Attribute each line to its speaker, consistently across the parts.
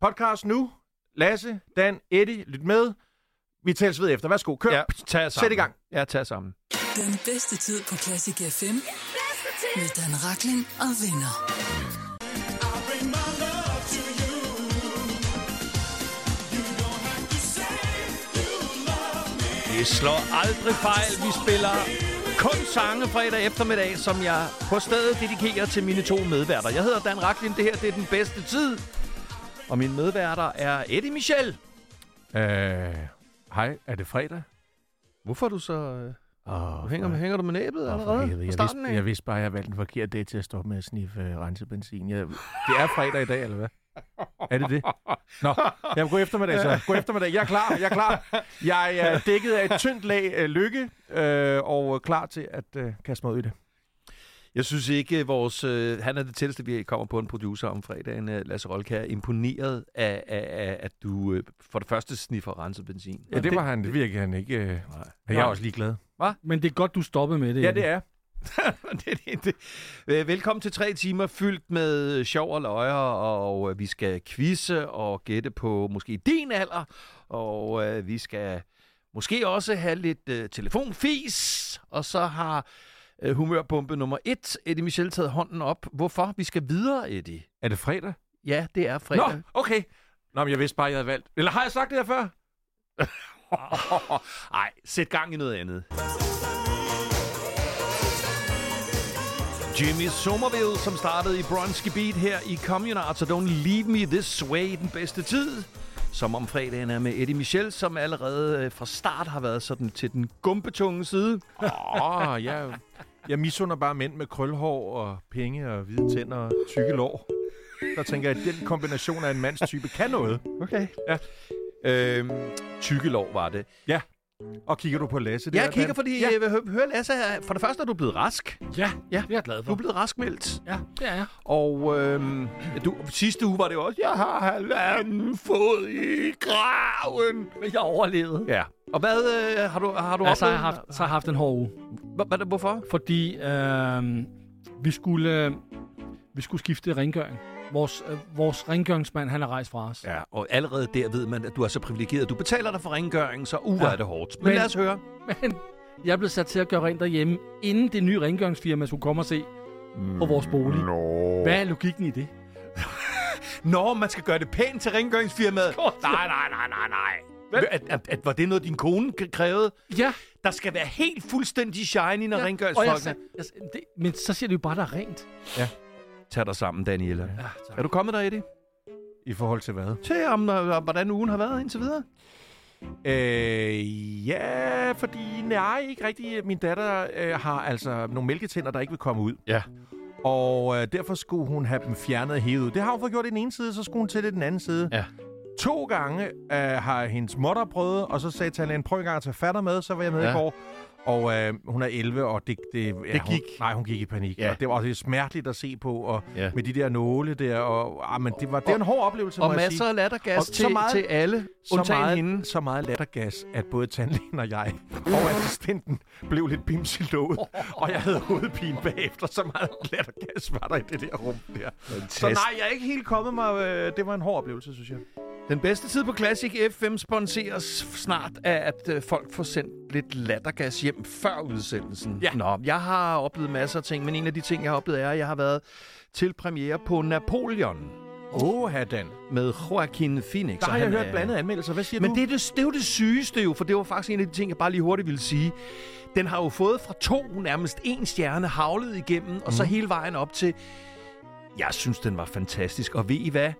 Speaker 1: podcast nu. Lasse, Dan, Eddie, lyt med. Vi tales ved efter. Værsgo, kør.
Speaker 2: Ja, tag jer sammen.
Speaker 1: Sæt i gang.
Speaker 2: Ja, tag jer sammen.
Speaker 3: Den bedste tid på Classic FM med Dan Rakling og venner.
Speaker 2: Det slår aldrig fejl. Vi spiller kun sange fredag eftermiddag, som jeg på stedet dedikerer til mine to medværter. Jeg hedder Dan Raklin. Det her det er den bedste tid. Og mine medværter er Eddie Michel.
Speaker 1: Øh, hej, er det fredag?
Speaker 2: Hvorfor er du så... øh,
Speaker 1: Åh,
Speaker 2: Hænger, hænger du med næbet allerede
Speaker 1: Jeg,
Speaker 2: fra
Speaker 1: jeg,
Speaker 2: starten
Speaker 1: vidste,
Speaker 2: af?
Speaker 1: jeg vidste bare, at jeg valgte en forkert dag til at stoppe med at sniffe øh, rensebenzin. Jeg, det er fredag i dag, eller hvad? Er det det? Nå, jamen, god eftermiddag så. God eftermiddag. Jeg er klar, jeg er klar. Jeg er dækket af et tyndt lag øh, lykke, øh, og klar til at øh, kaste mig ud i det.
Speaker 2: Jeg synes ikke, øh, vores, øh, han er det tætteste, vi kommer på en producer om fredagen. Øh, Lasse Rolke er imponeret af, af, af at du øh, for det første sniffer renset benzin.
Speaker 1: Ja, det var han, det virkelig han ikke. Øh, jeg er også ligeglad.
Speaker 4: Men det er godt, du stoppede med det.
Speaker 1: Ja,
Speaker 4: Eddie.
Speaker 1: det er.
Speaker 2: det, det, det. Øh, Velkommen til tre timer fyldt med øh, sjov og løjer, og øh, vi skal quizze og gætte på måske din alder, og øh, vi skal måske også have lidt øh, telefonfis, og så har øh, humørbombe nummer et, Eddie Michel, taget hånden op. Hvorfor? Vi skal videre, Eddie.
Speaker 1: Er det fredag?
Speaker 2: Ja, det er
Speaker 1: Nå,
Speaker 2: fredag.
Speaker 1: okay. Nå, men jeg vidste bare, at jeg havde valgt. Eller har jeg sagt det her før?
Speaker 2: Nej, sæt gang i noget andet. Jimmy Somerville, som startede i Bronski Beat her i Communards og Don't Leave Me This Way i den bedste tid. Som om fredagen er med Eddie Michel, som allerede øh, fra start har været sådan til den gumpetunge side.
Speaker 1: Åh, oh, jeg, jeg misunder bare mænd med krølhår og penge og hvide tænder og tykke lår. Der tænker jeg, at den kombination af en mands type kan noget.
Speaker 2: Okay.
Speaker 1: Ja.
Speaker 2: Øhm, tykkelov var det.
Speaker 1: Og kigger du på Lasse? der,
Speaker 2: Jeg kigger,
Speaker 1: Dan?
Speaker 2: fordi
Speaker 1: Ja.
Speaker 2: ja. jeg vil hø- høre, Lasse, her. for det første er du blevet rask.
Speaker 4: Ja,
Speaker 2: Ja.
Speaker 4: ja. det er jeg glad for.
Speaker 2: Du er blevet raskmeldt.
Speaker 4: Ja, det er jeg.
Speaker 2: Og øhm, du, sidste uge var det jo også, jeg har halvanden fod i graven.
Speaker 4: Men jeg overlevede.
Speaker 2: Ja. Og hvad øh, har du, har du
Speaker 4: Ja, så har Altså, jeg
Speaker 2: oplevet?
Speaker 4: haft, så har jeg haft en hård uge.
Speaker 2: Hva- hvad- Hvorfor?
Speaker 4: fordi øh, vi skulle øh, vi skulle skifte rengøring. Vores, øh, vores rengøringsmand, han er rejst fra os.
Speaker 2: Ja, og allerede der ved man, at du er så privilegeret. Du betaler dig for rengøring, så uh, ja.
Speaker 4: Ja.
Speaker 2: er det hårdt. Men, Men
Speaker 4: Men-
Speaker 2: lad os høre.
Speaker 4: Men jeg blev sat til at gøre rent derhjemme, inden det nye rengøringsfirma skulle komme og se på vores bolig.
Speaker 2: Mm,
Speaker 1: Nå.
Speaker 4: Hvad er logikken i det?
Speaker 2: Nå, man skal gøre det pænt til rengøringsfirmaet.
Speaker 4: Godt.
Speaker 2: oh, Nej, nej, nej, nej, nej. At, at, at, var det noget, din kone k- krævede?
Speaker 4: Ja,
Speaker 2: Der skal være helt fuldstændig shiny, når ja.
Speaker 4: ja. og jeg,
Speaker 2: rengøringsfolkene...
Speaker 4: sag- jeg, sag- det, men så siger det jo bare, der er rent.
Speaker 2: Tag dig sammen, Daniela. Ja.
Speaker 4: Ja,
Speaker 2: Er du kommet der, Eddie?
Speaker 1: I forhold til hvad?
Speaker 2: Til om, øh, hvordan ugen har været indtil videre?
Speaker 1: Øh, ja, fordi nej, ikke rigtigt. Min datter øh, har altså nogle mælketænder, der ikke vil komme ud.
Speaker 2: Ja.
Speaker 1: Og øh, derfor skulle hun have dem fjernet og hævet ud. Det har hun fået gjort i den ene side, så skulle hun til det i den anden side.
Speaker 2: Ja.
Speaker 1: To gange øh, har hendes mutter prøvet, og så sagde Talan, prøv en gang at tage fatter med, så var jeg med
Speaker 2: Ja.
Speaker 1: ja. i går. Og øh, hun er 11, og det, det, ja,
Speaker 2: Det
Speaker 1: Hun,
Speaker 2: gik.
Speaker 1: nej, hun gik i panik.
Speaker 2: Ja.
Speaker 1: Ja. Og det var også smerteligt at se på, og
Speaker 2: Ja.
Speaker 1: ja. med de der nåle der. Og, ah, men det var, det var en hård oplevelse,
Speaker 2: Og
Speaker 1: må jeg sige.
Speaker 2: masser af lattergas
Speaker 1: Og
Speaker 2: til,
Speaker 1: så meget-
Speaker 2: til alle,
Speaker 1: så
Speaker 2: undtagen
Speaker 1: meget,
Speaker 2: hende.
Speaker 1: så meget lattergas, at både tandlægen og jeg og assistenten blev lidt bims i låget. Og jeg havde hovedpine bagefter, så meget lattergas var der i det der rum der. Så nej, jeg er ikke helt kommet mig. øh, Det var en hård oplevelse, synes jeg.
Speaker 2: Den bedste tid på Classic FM sponseres snart af, at øh, folk får sendt lidt lattergas hjem før udsendelsen.
Speaker 1: Ja.
Speaker 2: Nå, jeg har oplevet masser af ting, men en af de ting, jeg har oplevet, er, at jeg har været til premiere på Napoleon
Speaker 1: Åh, oh, Dan.
Speaker 2: med Joaquin Phoenix.
Speaker 1: Der
Speaker 2: og
Speaker 1: har jeg
Speaker 2: han
Speaker 1: hørt
Speaker 2: er-
Speaker 1: blandede anmeldelser. Hvad siger
Speaker 2: Men
Speaker 1: du?
Speaker 2: det er det, det er jo det sygeste jo, for det var faktisk en af de ting, jeg bare lige hurtigt ville sige. Den har jo fået fra to nærmest en stjerne havlet igennem, og så hele vejen op til... Jeg synes, den var fantastisk. Og ved I hvad?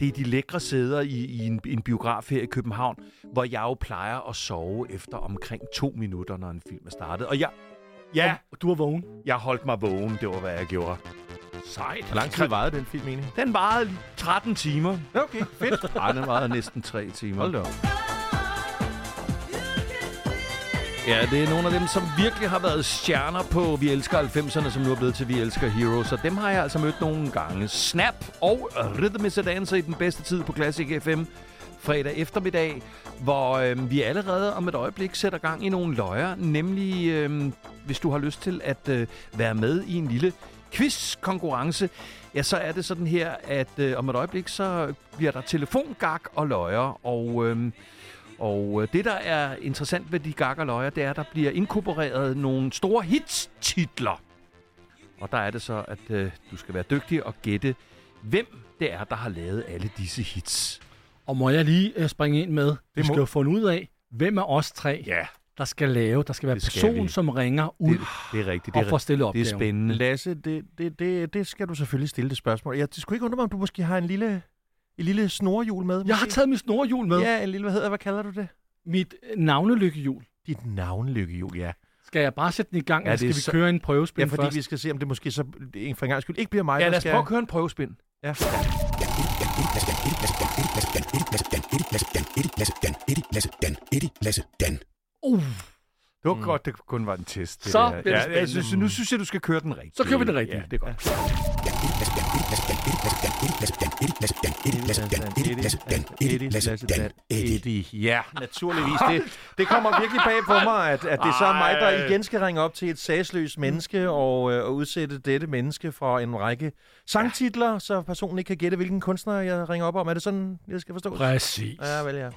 Speaker 2: Det er de lækre sæder i, i en, en biograf her i København, hvor jeg jo plejer at sove efter omkring to minutter, når en film er startet. Og jeg, ja,
Speaker 4: Og du var vågen.
Speaker 2: jeg holdt mig vågen. Det var, hvad jeg gjorde. Sejt.
Speaker 1: Hvor lang tid varede den film egentlig?
Speaker 2: Den varede 13 timer.
Speaker 1: Okay, fedt.
Speaker 2: Ej, den varede næsten 3 timer.
Speaker 1: Hold da op.
Speaker 2: Ja, det er nogle af dem, som virkelig har været stjerner på Vi Elsker 90'erne, som nu er blevet til Vi Elsker Heroes. Og dem har jeg altså mødt nogle gange. Snap og Rhythm is a Dancer i den bedste tid på Classic FM fredag eftermiddag, hvor øhm, vi allerede om et øjeblik sætter gang i nogle løjer. Nemlig, øhm, hvis du har lyst til at øh, være med i en lille quizkonkurrence, ja, så er det sådan her, at øh, om et øjeblik, så bliver der telefongak og løjer, og... Øhm, og øh, det, der er interessant ved de gak og løjer, det er, at der bliver inkorporeret nogle store hits-titler. Og der er det så, at øh, du skal være dygtig og gætte, hvem det er, der har lavet alle disse hits.
Speaker 4: Og må jeg lige øh, springe ind med, det vi
Speaker 1: må-
Speaker 4: skal jo finde ud af, hvem af os tre,
Speaker 2: Ja,
Speaker 4: der skal lave, der skal være
Speaker 2: Det skal
Speaker 4: person,
Speaker 2: vi.
Speaker 4: som ringer ud
Speaker 2: det, det er rigtigt.
Speaker 4: og
Speaker 2: Det er,
Speaker 4: får stillet
Speaker 2: det
Speaker 4: opgaven.
Speaker 2: er spændende.
Speaker 1: Lasse, det, det, det, det skal du selvfølgelig stille det spørgsmål. Jeg det skulle ikke undre mig, om du måske har en lille, en lille snorhjul med.
Speaker 4: Jeg har taget mit snorhjul med.
Speaker 1: med.
Speaker 4: Ja.
Speaker 1: Ja, en lille, hvad hedder, hvad kalder du det?
Speaker 4: Mit øh, navnelykkehjul.
Speaker 1: Dit navnlykkehjul, ja.
Speaker 4: Skal jeg bare sætte den i gang,
Speaker 1: Ja,
Speaker 4: ja, eller
Speaker 1: det
Speaker 4: skal
Speaker 1: er
Speaker 4: vi
Speaker 1: så-
Speaker 4: køre en prøvespil
Speaker 1: Ja, fordi
Speaker 4: først?
Speaker 1: vi skal se, om det måske så en for en gang skyld ikke bliver mig,
Speaker 2: Ja,
Speaker 1: der
Speaker 2: lad os
Speaker 1: skal...
Speaker 2: prøve at køre en prøvespind.
Speaker 1: Ja.
Speaker 4: Uh,
Speaker 2: Det var mm. godt, det kun var en test.
Speaker 4: Så
Speaker 2: der.
Speaker 4: bliver det
Speaker 2: ja, jeg synes, nu synes jeg, du skal køre den rigtigt.
Speaker 4: Så kører vi den rigtige.
Speaker 2: Ja, det er godt.
Speaker 1: Eddie. Ja, naturligvis. Det, det kommer virkelig bag på mig, at, at det så er mig, der igen skal ringe op til et sagsløst menneske og, øh, og udsætte dette menneske for en række sangtitler, så personen ikke kan gætte, hvilken kunstner jeg ringer op om. Er det sådan, jeg skal forstå?
Speaker 4: præcis.
Speaker 1: Ja, vel ja.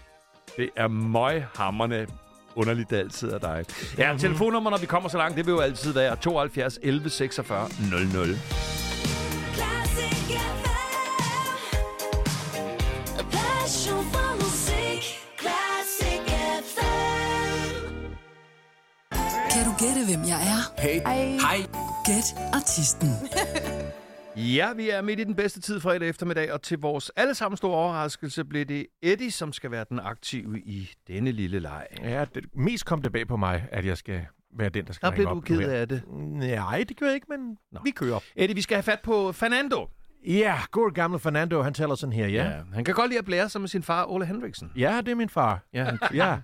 Speaker 2: Det er møghammerne underligt det altid af dig. Ja, telefonnummer, når vi kommer så langt, det vil jo altid være 72 11 46 00.
Speaker 5: Classic FM. A passion for music. Classic FM.
Speaker 3: Kan du gætte, hvem jeg er? Hey. Hej. Gæt artisten.
Speaker 2: Ja, vi er midt i den bedste tid fredag eftermiddag, og til vores allesammen store overraskelse blev det Eddie, som skal være den aktive i denne lille leg.
Speaker 1: Ja, det, mest kom det bag på mig, at jeg skal være den, der skal
Speaker 2: Der blev
Speaker 1: ringe op.
Speaker 2: du
Speaker 1: nu
Speaker 2: ked
Speaker 1: her.
Speaker 2: af det.
Speaker 1: Nej, det gør jeg ikke, men Nå. vi kører.
Speaker 2: Eddie, vi skal have fat på Fernando.
Speaker 1: Ja, god gamle Fernando, han taler sådan her, ja.
Speaker 2: Han kan godt lide at blære sig med sin far, Ole Henriksen.
Speaker 1: Ja, det er min far.
Speaker 2: Ja, han,
Speaker 1: Ja,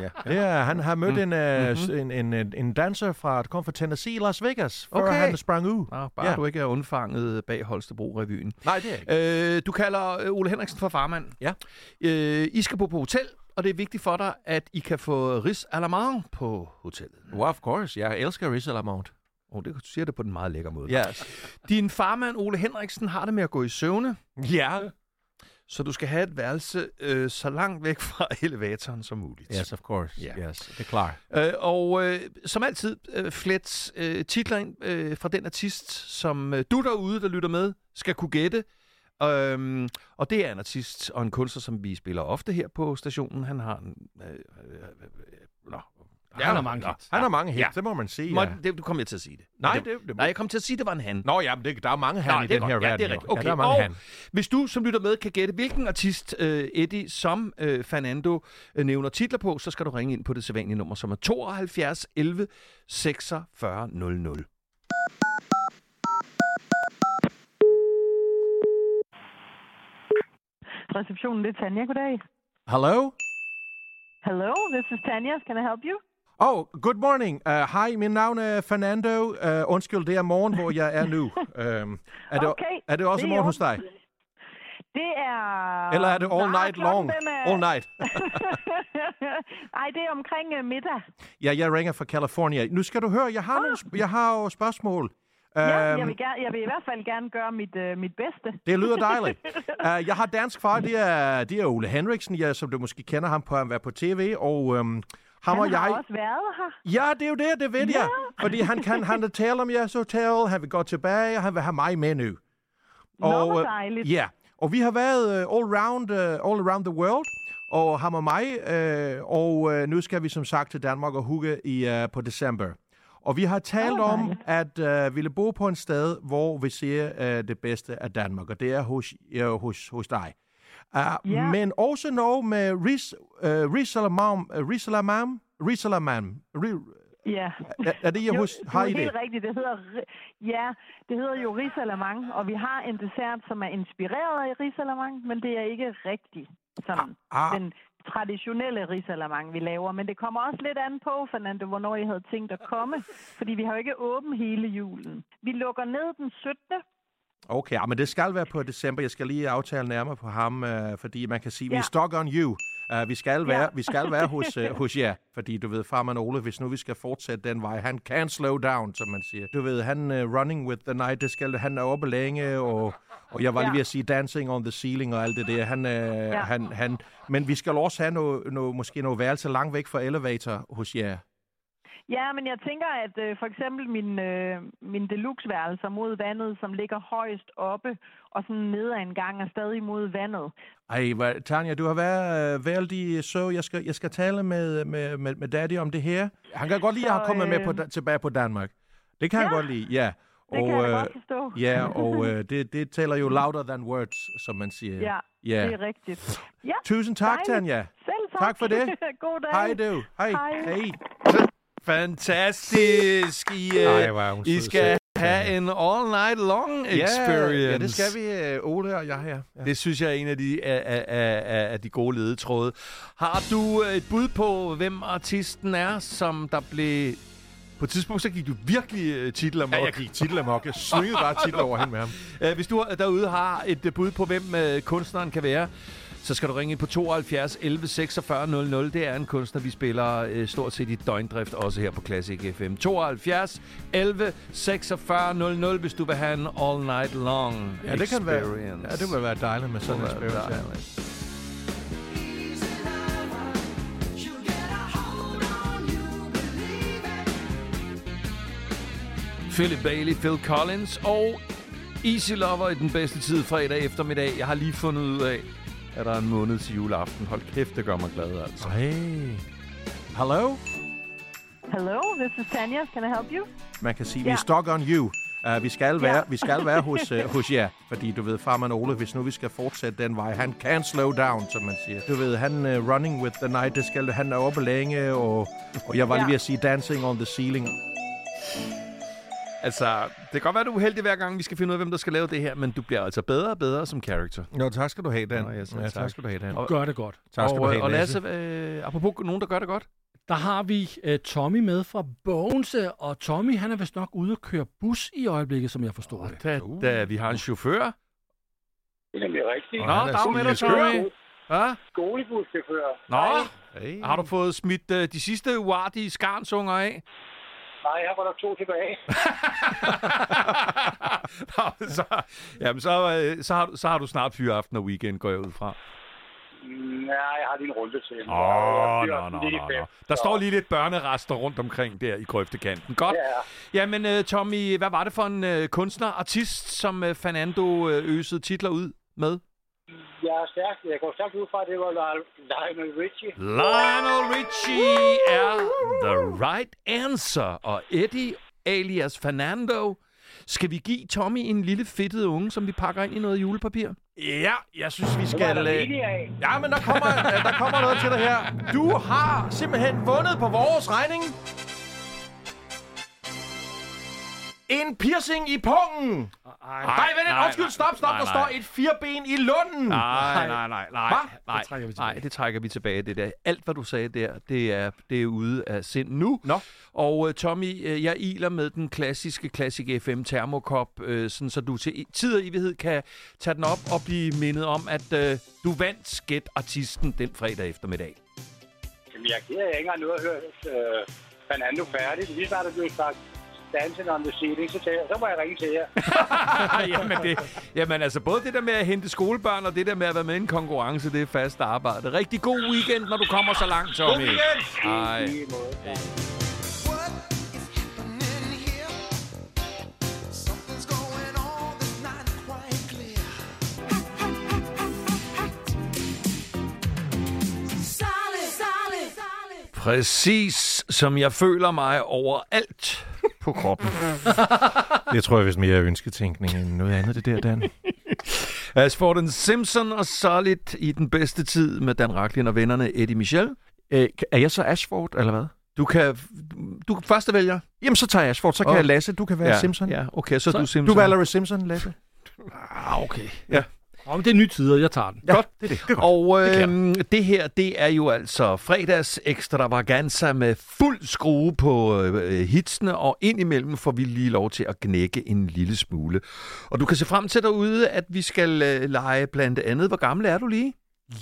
Speaker 2: ja.
Speaker 1: det er, han har mødt en, øh, s- en, en, en, en danser fra, der kom fra Tennessee i Las Vegas, før
Speaker 2: Okay. Ah.
Speaker 1: han sprang ud.
Speaker 2: Nå, bare
Speaker 1: Ja.
Speaker 2: ja. du ikke er undfanget bag Holstebro-revyen.
Speaker 1: Nej, det er ikke.
Speaker 2: Øh, du kalder øh, Ole Henriksen for farmand.
Speaker 1: Ja.
Speaker 2: Øh, I skal bo på hotel, og det er vigtigt for dig, at I kan få Riz Alamand på hotellet.
Speaker 1: Well, of course. Jeg elsker Riz Alamont.
Speaker 2: Oh, det du siger det på den meget lækker måde.
Speaker 1: Yes.
Speaker 2: Din farmand Ole Henriksen har det med at gå i søvne,
Speaker 1: ja.
Speaker 2: så du skal have et værelse øh, så langt væk fra elevatoren som muligt.
Speaker 1: Yes, of course.
Speaker 2: Ja.
Speaker 1: Yes, det er klart.
Speaker 2: Øh, og øh, som altid, øh, flet øh, titler ind øh, fra den artist, som øh, du derude, der lytter med, skal kunne gætte. Øhm, og det er en artist og en kunstner, som vi spiller ofte her på stationen. Han har en... Øh, øh, øh, øh, nå.
Speaker 4: han har mange
Speaker 2: nå.
Speaker 4: hits.
Speaker 1: Han har mange hits,
Speaker 2: Ja.
Speaker 1: ja. det må man sige.
Speaker 2: Må,
Speaker 1: Ja.
Speaker 2: det, du kom jeg til at sige det.
Speaker 1: Nej,
Speaker 2: Men
Speaker 1: det- det må-
Speaker 2: nej, jeg kom til at sige, at det var en han. Nå,
Speaker 1: Nå, ja, men det, der er mange han i
Speaker 2: det er
Speaker 1: den her
Speaker 2: godt. ja,
Speaker 1: verden.
Speaker 2: det er
Speaker 1: jo.
Speaker 2: rigtigt. Okay.
Speaker 1: Ja, der er mange
Speaker 2: og
Speaker 1: han.
Speaker 2: hvis du som lytter med kan gætte, hvilken artist øh, Eddie som øh, Fernando øh, nævner titler på, så skal du ringe ind på det sædvanlige nummer, som er 72 11 46 00.
Speaker 6: Receptionen, det er Tanja. Goddag.
Speaker 1: Hello?
Speaker 6: Hello, this is Tanja. Can I help you?
Speaker 1: Oh, good morning. Uh, Hej, min navn er Fernando. Uh, undskyld, det er morgen, hvor jeg er nu. Um, er, det,
Speaker 6: Okay,
Speaker 1: er det også
Speaker 6: det er
Speaker 1: morgen
Speaker 6: i
Speaker 1: hos dig?
Speaker 6: Det er...
Speaker 1: Eller er det all
Speaker 6: Nej,
Speaker 1: night
Speaker 6: klokken,
Speaker 1: long?
Speaker 6: den Er...
Speaker 1: All night.
Speaker 6: Nej, det er omkring uh, middag.
Speaker 1: Ja, jeg ringer fra California. Nu skal du høre, jeg har, nogle sp- jeg har jo spørgsmål. Um,
Speaker 6: Ah. Ja, jeg, vil gerne, jeg vil i hvert fald gerne gøre mit, uh, mit bedste.
Speaker 1: Det lyder dejligt. Uh, jeg har dansk far, det er, det er Ole Henriksen, ja, som du måske kender ham på, han var på tv, og um, ham og
Speaker 6: Han har
Speaker 1: jeg...
Speaker 6: også været her.
Speaker 1: Ja, det er jo det, det ved jeg. Fordi han kan han kan tale om jeres hotel, han vil gå tilbage, og han vil have mig med nu.
Speaker 6: hvor
Speaker 1: øh,
Speaker 6: dejligt.
Speaker 1: Ja, og vi har været uh, all, around, uh, all around the world, og ham og mig, øh, og øh, nu skal vi som sagt til Danmark og hugge i, øh, på december. Og vi har talt
Speaker 6: Åh,
Speaker 1: om at øh, ville bo på en sted, hvor vi ser øh, det bedste af Danmark, og det er hos, øh, hos, hos dig. Uh,
Speaker 6: Ja.
Speaker 1: Men også noget med Ris, øh, Risalamam, øh, Risalamam, Risalamam, Ri-
Speaker 6: Ja.
Speaker 1: er, er det, jeg hus-
Speaker 6: jo,
Speaker 1: har
Speaker 6: det
Speaker 1: i
Speaker 6: er
Speaker 1: det?
Speaker 6: helt rigtigt. Det hedder, ri- ja, det hedder jo risalamang, og vi har en dessert, som er inspireret af risalamang, men det er ikke rigtig sådan
Speaker 1: Ah,
Speaker 6: den traditionelle risalamang, vi laver. Men det kommer også lidt an på, Fernando, hvornår I havde tænkt at komme. Fordi vi har jo ikke åben hele julen. Vi lukker ned den 17.
Speaker 1: okay, ah, ja, men det skal være på december. Jeg skal lige aftale nærmere på ham, øh, fordi man kan sige, ja.
Speaker 6: Ja.
Speaker 1: vi stock on you. Uh, vi, skal være, vi skal være hos, uh, hos jer, fordi du ved, Farman Ole, hvis nu vi skal fortsætte den vej, han can slow down, som man siger. Du ved, han uh, running with the night, det skal, han er oppe længe, og, og jeg var lige
Speaker 6: Ja.
Speaker 1: ved at sige dancing on the ceiling og alt det der. Han, uh, ja. han, han, men vi skal også have noget, noget, måske noget værelse langt væk fra elevator hos jer.
Speaker 6: Ja, men jeg tænker, at øh, for eksempel min, øh, min deluxe-værelser mod vandet, som ligger højst oppe og sådan ned ad en gang og stadig mod vandet.
Speaker 1: Ej, hvad, Tanja, du har været øh, vældig sød. Jeg skal, jeg skal tale med, med, med, med daddy om det her. Han kan godt lide, at jeg har
Speaker 6: Så,
Speaker 1: kommet med
Speaker 6: øh,
Speaker 1: på, da- tilbage på Danmark. Det kan ja, han godt lide, ja.
Speaker 6: Det kan jeg da godt forstå.
Speaker 1: øh,
Speaker 6: Mm.
Speaker 1: ja, og øh, det, det taler jo louder than words, som man siger.
Speaker 6: Ja,
Speaker 1: ja.
Speaker 6: det er rigtigt. Ja,
Speaker 1: Tusind tak,
Speaker 6: dejligt.
Speaker 1: Tanja.
Speaker 6: Selv tak.
Speaker 1: Tak for det.
Speaker 6: God dag.
Speaker 1: Hej, du. Hej.
Speaker 6: Hej.
Speaker 1: Hej.
Speaker 2: Fantastisk! I, øh,
Speaker 1: Ej, hvor er hun
Speaker 2: I
Speaker 1: sød,
Speaker 2: skal have en all-night-long experience.
Speaker 1: Ja, ja, det skal vi, øh, Ole og jeg her. Ja.
Speaker 2: Det synes jeg er en af de, af, af, af, af- af de gode ledetråde. Har du øh, et bud på, hvem artisten er, som der blev... På et tidspunkt, så gik du virkelig øh, titler med.
Speaker 1: Ja, jeg gik titler mok. Jeg svingede bare titler over hende med ham.
Speaker 2: Øh, Hvis du derude har et øh, bud på, hvem øh, kunstneren kan være, så skal du ringe ind på 72 11 46 00. Det er en kunstner, vi spiller øh, stort set i døgndrift, også her på Classic FM. 72 11 46 00, hvis du vil have en all night long
Speaker 1: Ja, det kan være.
Speaker 2: experience.
Speaker 1: Ja, det vil være dejligt med sådan en experience. ja.
Speaker 2: Philip Bailey, Phil Collins og Easy Lover i den bedste tid fredag eftermiddag. Jeg har lige fundet ud af, at der er en måned til juleaften. Hold kæft, det gør mig glad, altså.
Speaker 1: Hey. Hello?
Speaker 6: Hello, this is Tanya. Can I help you?
Speaker 1: Man kan sige, ja. vi
Speaker 6: Ja.
Speaker 1: er stuck on you. Uh, vi skal være,
Speaker 6: Ja.
Speaker 1: vi skal være hos, uh, hos jer, fordi du ved, farmand Ole, hvis nu vi skal fortsætte den vej, han can slow down, som man siger. Du ved, han uh, running with the night, det skal, han er oppe længe, og, og jeg var lige
Speaker 6: Ja.
Speaker 1: ved at sige dancing on the ceiling.
Speaker 2: Altså, det kan godt være, du er uheldig hver gang, vi skal finde ud af, hvem der skal lave det her, men du bliver altså bedre og bedre som character.
Speaker 1: Jo, tak skal du have, Dan.
Speaker 2: Nå, ja, selv
Speaker 1: ja,
Speaker 2: tak.
Speaker 1: tak skal du have, Dan.
Speaker 2: Og-
Speaker 4: Gør det godt.
Speaker 1: Tak skal
Speaker 2: og,
Speaker 1: du
Speaker 2: øh,
Speaker 1: have,
Speaker 2: og Lasse, øh, apropos nogen, der gør det godt.
Speaker 4: Der har vi øh, Tommy med fra Bogense, og Tommy han er vist nok ude at køre bus i øjeblikket, som jeg forstår det.
Speaker 2: Da,
Speaker 1: Uh.
Speaker 2: da, vi har en chauffør.
Speaker 7: Det er nemlig rigtigt.
Speaker 1: Og
Speaker 2: Nå,
Speaker 1: han er
Speaker 2: dag med dig,
Speaker 1: skideskør.
Speaker 2: Tommy. Hva?
Speaker 7: Skolebuschauffør.
Speaker 2: Nå,
Speaker 1: Hey.
Speaker 2: har du fået smidt øh, de sidste uartige skarnsunger af?
Speaker 7: Nej, her var der to tilbage.
Speaker 2: Nå, men så, jamen, så, øh, så, har, du- så har du snart fyreaften og weekend, går jeg ud fra.
Speaker 7: Mm, Nej, jeg har lige en runde til.
Speaker 2: Åh, oh, nå, nå, nå, nå. Der står lige lidt børnerester rundt omkring der i grøftekanten. Godt. Ja. Jamen, øh, Tommy, hvad var det for en øh, kunstner, artist, som øh, Fernando øh, øsede titler ud med?
Speaker 7: Jeg er stærk. Jeg går stærkt ud fra, at det var Lionel- Lionel Richie.
Speaker 2: Lionel Richie er the right answer, og Eddie alias Fernando. Skal vi give Tommy en lille fedtet unge, som vi pakker ind i noget julepapir?
Speaker 1: Ja, jeg synes, vi
Speaker 7: Det var der
Speaker 1: skal... øh,
Speaker 7: rigeligt af.
Speaker 1: Ja, men der kommer, øh, der kommer noget til dig her. Du har simpelthen vundet på vores regning. En piercing i pungen.
Speaker 4: Ej,
Speaker 1: Nej, vent lidt. Undskyld, stop, stop. Der står et fireben i lunden.
Speaker 2: Nej, nej, nej, nej.
Speaker 1: Hva?
Speaker 2: Nej,
Speaker 4: Det trækker vi tilbage.
Speaker 2: nej, det trækker vi tilbage, det der. Alt, hvad du sagde der, det er, det er ude af sind nu.
Speaker 1: Nå.
Speaker 2: Og uh, Tommy, øh, jeg iler med den klassiske Classic FM termokop, øh, sådan, så du til i- tid og evighed kan tage den op og blive mindet om, at øh, du vandt Skæt Artisten den fredag eftermiddag.
Speaker 7: Jamen, jeg er ked af, at jeg ikke har noget at høre øh, Fernando færdig. Lige snart der blev sagt Dancing on the ceiling, så, tager, jeg- så må jeg ringe til jer.
Speaker 2: Ej, jamen, det, jamen altså, både det der med at hente skolebørn og det der med at være med i en konkurrence, det er fast arbejde. Rigtig god weekend, når du kommer så langt, Tommy. God weekend! Ej.
Speaker 7: I lige måde.
Speaker 2: Præcis som jeg føler mig overalt på kroppen.
Speaker 1: Det tror jeg vist mere er ønsketænkning end noget andet, det der, Dan.
Speaker 2: As for den Simpson og Solid i den bedste tid med Dan Racklin og vennerne Eddie Michel.
Speaker 1: Æ, Øh, er jeg så Ashford, eller hvad?
Speaker 2: Du kan... Du er første vælger.
Speaker 1: Jamen, så tager jeg Ashford. Så kan
Speaker 2: Åh.
Speaker 1: oh. jeg Lasse. Du kan være ja. Simpson.
Speaker 2: Ja, okay, så, så du er
Speaker 1: Du
Speaker 2: Simpson.
Speaker 1: er Valerie Simpson, Lasse.
Speaker 2: Ah, okay.
Speaker 4: Om det er nye tider, jeg tager den.
Speaker 1: Ja, godt. Det er det. det er godt.
Speaker 2: Og øh, det her, det er jo altså fredags ekstravaganza med fuld skrue på øh, hitsene, og indimellem får vi lige lov til at knække en lille smule. Og du kan se frem til derude, at vi skal øh, lege blandt andet. Hvor gammel er du lige?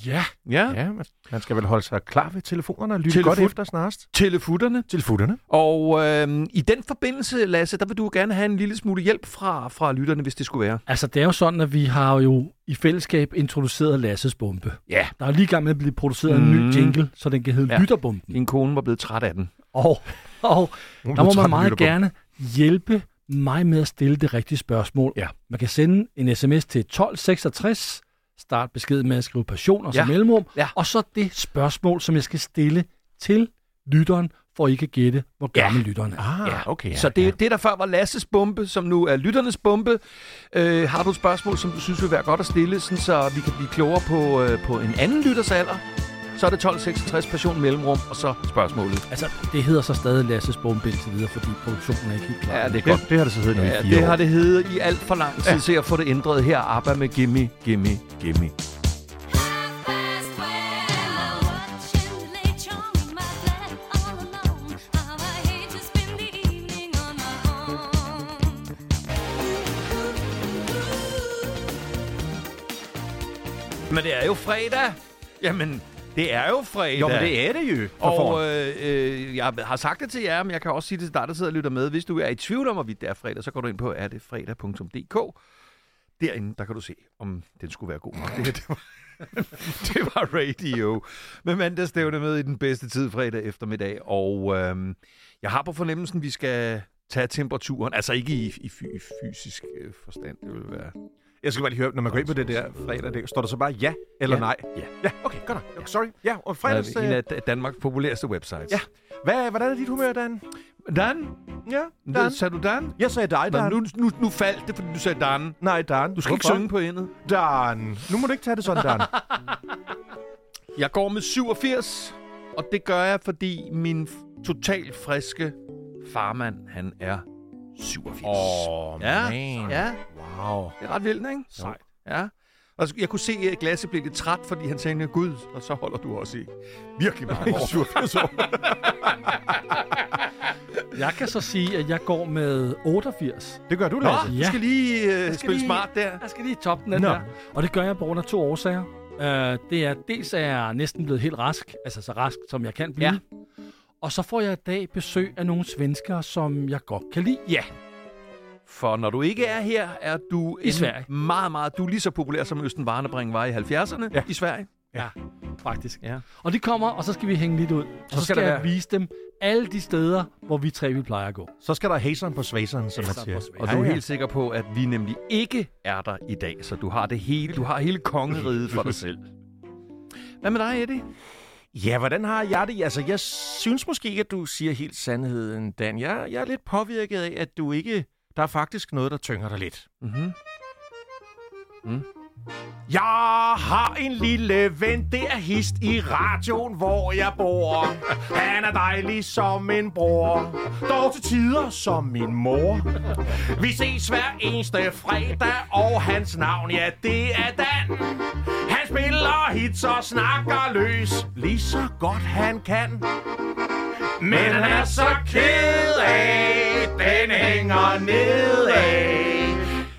Speaker 4: Ja,
Speaker 2: Ja.
Speaker 1: Ja, man, man skal vel holde sig klar ved telefonerne og lytte
Speaker 2: Telefon-
Speaker 1: godt efter snarest.
Speaker 2: Telefutterne.
Speaker 1: Telefonerne.
Speaker 2: Og øh, i den forbindelse, Lasse, der vil du gerne have en lille smule hjælp fra, fra lytterne, hvis det skulle være.
Speaker 4: altså det er jo sådan, at vi har jo i fællesskab introduceret Lasses bombe.
Speaker 2: Ja.
Speaker 4: Der er lige i gang med at blive produceret en
Speaker 2: Mm.
Speaker 4: ny jingle, så den kan hedde
Speaker 2: Ja.
Speaker 4: ja. Lytterbomben.
Speaker 2: Din Mm. kone var blevet træt af den.
Speaker 4: Og, og
Speaker 1: Nu
Speaker 4: der
Speaker 1: er vi
Speaker 4: må
Speaker 1: trætte af
Speaker 4: man meget
Speaker 1: lytterbog.
Speaker 4: gerne hjælpe mig med at stille det rigtige spørgsmål.
Speaker 2: Ja.
Speaker 4: Man kan sende en sms til 1266, start beskeden med at skrive passion og så
Speaker 2: Ja.
Speaker 4: mellemrum,
Speaker 2: Ja.
Speaker 4: og så det spørgsmål, som jeg skal stille til lytteren, for I kan gætte, hvor
Speaker 2: Ja.
Speaker 4: gammel lytteren er.
Speaker 1: Ah,
Speaker 2: Ja.
Speaker 1: ja. okay. Ja,
Speaker 2: Så det, det, der før var Lasses bombe, som nu er lytternes bombe. Øh, har du et spørgsmål, som du synes vil være godt at stille, sådan, så vi kan blive klogere på, øh, på en anden lytters alder, så er det 1266 passion mellemrum, og så spørgsmålet.
Speaker 4: Altså, det hedder så stadig Lasses bombe indtil videre, fordi produktionen er ikke helt klar.
Speaker 2: Ja, det er
Speaker 1: Ja.
Speaker 2: godt.
Speaker 1: Det, det har det så heddet nu
Speaker 2: Ja,
Speaker 1: i fire
Speaker 2: det
Speaker 1: år.
Speaker 2: har det heddet i alt for lang tid, til at få det ændret her. ABBA med Gimme, Gimme, Gimme. Men det er jo fredag. Jamen, det er jo fredag.
Speaker 1: Jo, men det er det jo. for
Speaker 2: Og
Speaker 1: fanden.
Speaker 2: øh, øh, jeg har sagt det til jer, men jeg kan også sige det til dig, der sidder og lytter med. Hvis du er i tvivl om, hvorvidt det er fredag, så går du ind på erdetfredag.dk. Derinde, der kan du se, om den skulle være god nok. Det, her, det, var, det var radio. Med mandagsstævne med i den bedste tid fredag eftermiddag. Og øh, jeg har på fornemmelsen, vi skal tage temperaturen. Altså ikke i, i, fy, i fysisk øh, forstand, det vil være.
Speaker 1: Jeg skal bare lige høre, når man går ind på det der fredag, det, står der så bare ja eller
Speaker 2: Ja.
Speaker 1: nej?
Speaker 2: Ja.
Speaker 1: Ja, okay, godt nok. Sorry. Ja, og fredags...
Speaker 2: Fredags, en
Speaker 1: Øh,
Speaker 2: af Dan- Danmarks populæreste websites.
Speaker 1: ja. Hvad, hvordan er dit humør, Dan?
Speaker 2: Dan?
Speaker 1: Ja, Dan.
Speaker 2: Dan? Sagde du Dan?
Speaker 1: Jeg sagde dig,
Speaker 2: Nå,
Speaker 1: Dan.
Speaker 2: nu, nu, nu faldt det, fordi du sagde Dan.
Speaker 1: Nej, Dan.
Speaker 2: Du skal ikke
Speaker 1: Hvorfor?
Speaker 2: synge på endet.
Speaker 1: Dan. Nu må du ikke tage det sådan, Dan.
Speaker 2: Jeg går med 87, og det gør jeg, fordi min f- totalt friske farmand, han er 87. ja, ja,
Speaker 1: Wow.
Speaker 2: det er ret vildt, ikke?
Speaker 1: Sejt.
Speaker 2: Ja. Og så- jeg kunne se, at Lasse blev lidt træt, fordi han tænkte, Gud, og så holder du også i virkelig mange år.
Speaker 1: 87 år.
Speaker 4: Jeg kan så sige, at jeg går med 88.
Speaker 1: Det gør du,
Speaker 2: Nå,
Speaker 1: Lasse.
Speaker 2: du skal lige øh,
Speaker 4: skal
Speaker 2: spille
Speaker 4: lige-
Speaker 2: smart der.
Speaker 4: Jeg skal lige toppe den, den
Speaker 1: Nå.
Speaker 4: der. Og det gør jeg på grund af to årsager. Uh, det er, dels er jeg næsten blevet helt rask, altså så rask, som jeg kan blive. Ja. Og så får jeg i dag besøg af nogle svenskere, som jeg godt kan lide.
Speaker 2: Ja. For når du ikke er her, er du
Speaker 4: I Sverige.
Speaker 2: meget, meget... Du er lige så populær, som Østen Warnebring var i 70'erne ja. i Sverige.
Speaker 4: faktisk.
Speaker 2: Ja.
Speaker 4: Og de kommer, og så skal vi hænge lidt ud. Og
Speaker 1: skal
Speaker 4: så, skal,
Speaker 1: der
Speaker 4: skal jeg
Speaker 1: være-
Speaker 4: vise dem alle de steder, hvor vi tre vi plejer at gå.
Speaker 1: Så skal der haseren på svaseren, som man
Speaker 4: Haseren
Speaker 1: siger.
Speaker 4: på svaseren.
Speaker 2: Og
Speaker 1: Ja,
Speaker 2: du er
Speaker 1: ja.
Speaker 2: helt sikker på, at vi nemlig ikke er der i dag, så du har det hele, du har hele kongeriget for dig selv. Hvad med dig, Eddie?
Speaker 1: Ja, hvordan har jeg det? Altså, jeg synes måske ikke, at du siger helt sandheden, Dan. Jeg, jeg er lidt påvirket af, at du ikke... Der er faktisk noget, der tynger dig lidt.
Speaker 2: Mm-hmm.
Speaker 1: Jeg har en lille ven, det er hist i radioen, hvor jeg bor. Han er dejlig som en bror, dog til tider som min mor. Vi ses hver eneste fredag, og hans navn, ja, det er Dan. Han spiller hits og snakker løs, lige så godt han kan. Men han er så ked af, den hænger nedad.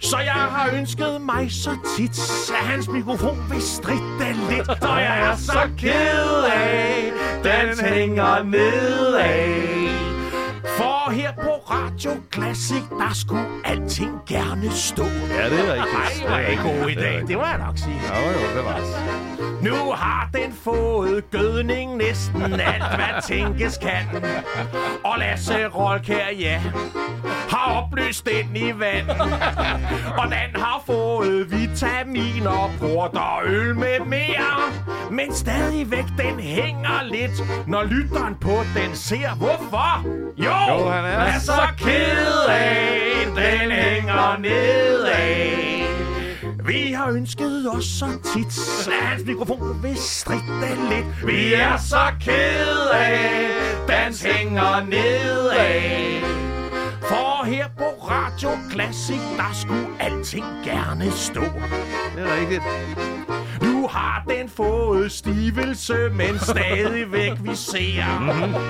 Speaker 1: Så jeg har ønsket mig så tit, at hans mikrofon vil stritte lidt. Og jeg er så ked af, den hænger nedad. For her på Radio Classic, der skulle alting gerne stå. Ja, det er rigtigt. Ej, var jeg god i dag. Det må jeg nok sige.
Speaker 2: Jo, jo, det var
Speaker 1: Nu har den fået gødning næsten alt, hvad tænkes kan. Og Lasse Rolkær, ja, har opløst den i vand. Og den har fået vitaminer, port og øl med mere. Men stadigvæk den hænger lidt, når lytteren på den ser. Hvorfor? Jo, jo han er, er så ked af, den hænger nedad. Vi har ønsket os så tit, at hans mikrofon vil stritte lidt. Vi er så ked af, dans hænger nedad. For her på Radio Classic, der skulle alting gerne stå.
Speaker 2: Det er rigtigt.
Speaker 1: Nu har den fået stivelse, men stadigvæk vi ser.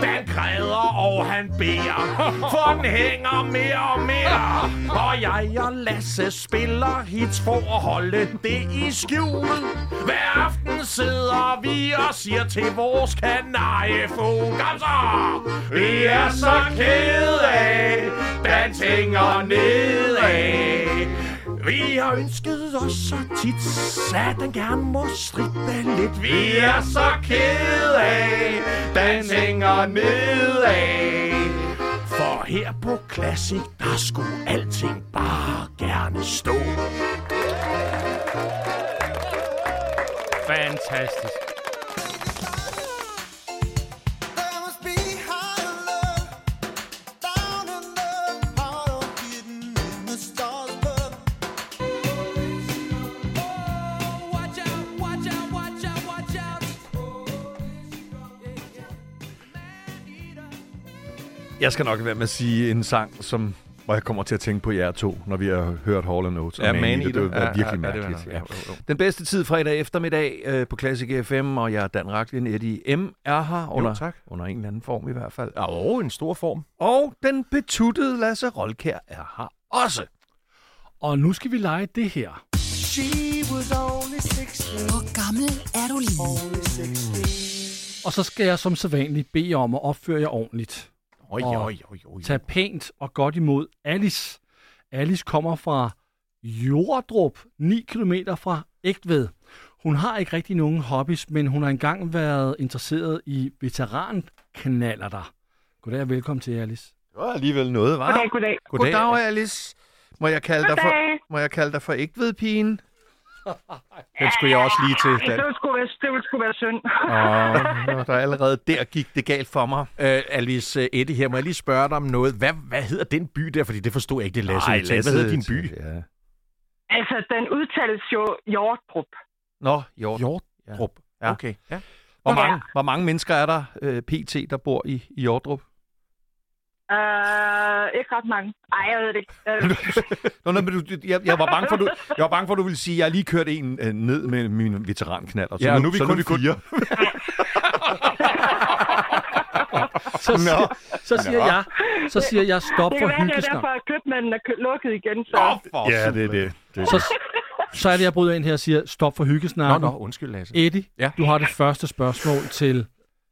Speaker 1: Den græder, og han beder, for den hænger mere og mere. Og jeg og Lasse spiller hits for at holde det i skjul. Hver aften sidder vi og siger til vores kanariefugl, kom så! Vi er så kede af, den tænker nedad. Vi har ønsket os så tit, at den gerne må stritte lidt. Vi er så ked af, den hænger nedad. For her på Classic, der skulle alting bare gerne stå.
Speaker 4: Fantastisk.
Speaker 2: Jeg skal nok være med at sige en sang, som, hvor jeg kommer til at tænke på jer to, når vi har hørt Hall Notes.
Speaker 1: Ja,
Speaker 2: og
Speaker 1: Man
Speaker 2: Eater.
Speaker 1: Eater.
Speaker 2: Det var
Speaker 1: Ja, ja,
Speaker 2: virkelig
Speaker 1: ja, det var
Speaker 2: mærkeligt.
Speaker 1: noget.
Speaker 2: ja.
Speaker 1: Jo, jo, jo.
Speaker 2: Den bedste tid fredag eftermiddag øh, på Classic FM, og jeg er Dan Raklin, Eddie M. er her under,
Speaker 1: tak.
Speaker 2: under en eller anden form i hvert fald.
Speaker 1: Og oh, en stor form.
Speaker 2: Og den betuttede Lasse Rolkær er her også.
Speaker 4: Og nu skal vi lege det her.
Speaker 3: Hvor gammel er du lige?
Speaker 4: Og så skal jeg som sædvanligt bede jer om at opføre jer ordentligt.
Speaker 1: Oj,
Speaker 4: Og
Speaker 1: oj, oj, oj.
Speaker 4: Tag pænt og godt imod Alice. Alice kommer fra Jordrup, 9 km fra Ægtved. Hun har ikke rigtig nogen hobbies, men hun har engang været interesseret i veterankanaler der. Goddag og velkommen til, Alice.
Speaker 2: Det var alligevel noget, var
Speaker 8: Goddag, goddag.
Speaker 2: Goddag, Goddag Alice. Må jeg kalde dig
Speaker 8: Goddag.
Speaker 2: for, må jeg kalde dig for ægtvedpigen?
Speaker 1: Den skulle jeg også lige til.
Speaker 8: Det ville sgu være, det ville sgu være synd.
Speaker 2: Og der allerede der gik det galt for mig.
Speaker 1: Øh, Alice øh, Eddie her, må jeg lige spørge dig om noget? Hvad, hvad hedder den by der? Fordi det forstod jeg ikke, det Lasse.
Speaker 2: Ej,
Speaker 1: udtalte. hvad hedder din by?
Speaker 2: Ja.
Speaker 8: altså, den udtales jo Hjortrup.
Speaker 2: Nå, Hjort.
Speaker 1: Jordrup.
Speaker 2: Ja.
Speaker 1: Okay, ja.
Speaker 2: Hvor, mange, hvor mange mennesker er der øh, pt., der bor i, i Hjortrup?
Speaker 8: Uh, ikke ret mange. Ej, jeg ved det ikke. Øh,
Speaker 2: Nå, nej, men du, du- jeg, jeg, var bange for, du, jeg var bange for, du ville sige, at jeg har lige kørt en øh, ned med min veteranknaller. Så
Speaker 1: Ja,
Speaker 2: nu,
Speaker 1: nu er vi
Speaker 2: så
Speaker 1: kun
Speaker 2: nu er vi fire.
Speaker 4: Så siger, så siger, jeg, så siger jeg stop
Speaker 8: det
Speaker 4: for
Speaker 8: kan være, det er
Speaker 4: hyggesnak.
Speaker 8: derfor, at købmanden er kø- lukket igen. Så.
Speaker 2: For ja, det er det. det.
Speaker 4: Så, så er det, jeg bryder ind her og siger stop for
Speaker 1: Nå,
Speaker 4: hyggesnak.
Speaker 1: nå, undskyld, Lasse.
Speaker 4: Eddie,
Speaker 1: Ja.
Speaker 4: du har det første spørgsmål til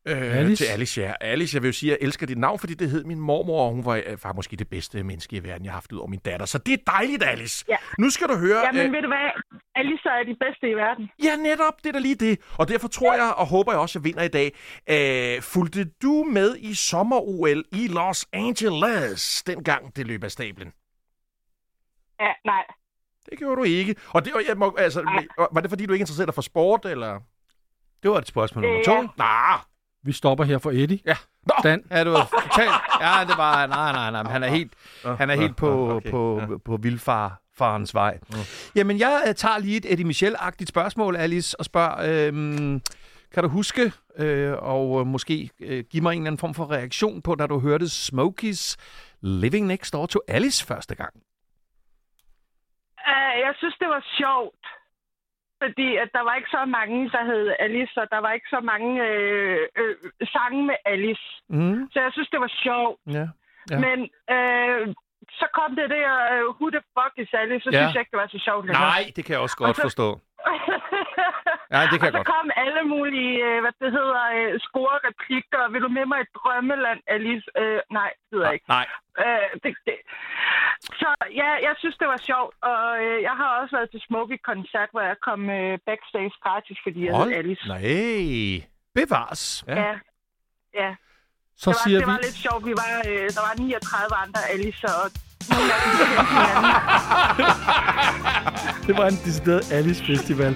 Speaker 1: Øh,
Speaker 4: Alice?
Speaker 1: Til Alice, ja. Alice, jeg vil jo sige, at jeg elsker dit navn, fordi det hed min mormor, og hun var, øh, var måske det bedste menneske i verden, jeg har haft ud over min datter. Så det er dejligt, Alice.
Speaker 8: Ja.
Speaker 1: Nu skal du høre...
Speaker 8: Jamen,
Speaker 1: øh,
Speaker 8: ved du hvad? Alisa er de bedste i verden.
Speaker 1: ja, netop. Det er da lige det. Og derfor tror jeg, og håber jeg også, at jeg vinder i dag. Øh, fulgte du med i sommer-OL i Los Angeles, dengang det løb af stablen?
Speaker 8: Ja, nej.
Speaker 1: Det gjorde du ikke. Og det, og jeg må, altså, var det fordi, du ikke interesserede dig for sport, eller?
Speaker 2: det var et spørgsmål nummer
Speaker 8: Ja.
Speaker 2: to.
Speaker 1: Nej.
Speaker 4: Vi stopper her for Eddie.
Speaker 1: Ja. Nå,
Speaker 4: Dan,
Speaker 2: Ja, det var totalt. Ja, det var... Nej, nej, nej. men Han er helt, han er helt på, okay. Mm. på, på, på vildfar farens vej. Jamen, jeg øh, tager lige et Eddie Michel-agtigt spørgsmål, Alice, og spørger, øhm, kan du huske, øh, og øh, måske øh, give mig en eller anden form for reaktion på, da du hørte Smokies Living Next Door to Alice første gang?
Speaker 8: Uh, jeg synes, det var sjovt. Fordi at der var ikke så mange, der hed Alice, og der var ikke så mange øh, øh, sange med Alice.
Speaker 2: Mm,
Speaker 8: Så jeg synes, det var sjovt.
Speaker 2: ja.
Speaker 8: Ja. Men øh, så kom det der, øh, who the fuck is Alice, så
Speaker 2: Ja.
Speaker 8: ja. synes jeg ikke, det var så sjovt. længere.
Speaker 2: Nej, det kan jeg også godt
Speaker 8: så-
Speaker 2: forstå. Ja, det kan jeg
Speaker 8: og så
Speaker 2: godt.
Speaker 8: kom alle mulige, øh, hvad det hedder, øh, score replikker. Vil du med mig i drømmeland, Alice? Øh, nej, det ved jeg ikke.
Speaker 2: Nej,
Speaker 8: Øh, det, det. Så ja, jeg synes, det var sjovt. Og øh, jeg har også været til Smokey-koncert, hvor jeg kom øh, backstage gratis, fordi jeg hed Alice.
Speaker 1: Nej.
Speaker 2: bevares.
Speaker 1: Ja.
Speaker 8: Ja. ja.
Speaker 4: så
Speaker 8: Det, var,
Speaker 4: siger
Speaker 8: det
Speaker 4: vi...
Speaker 8: var lidt sjovt. Vi var, øh, der var 39 andre Alice, og nogle af dem kendte hinanden.
Speaker 4: Det var en decideret Alice Festival.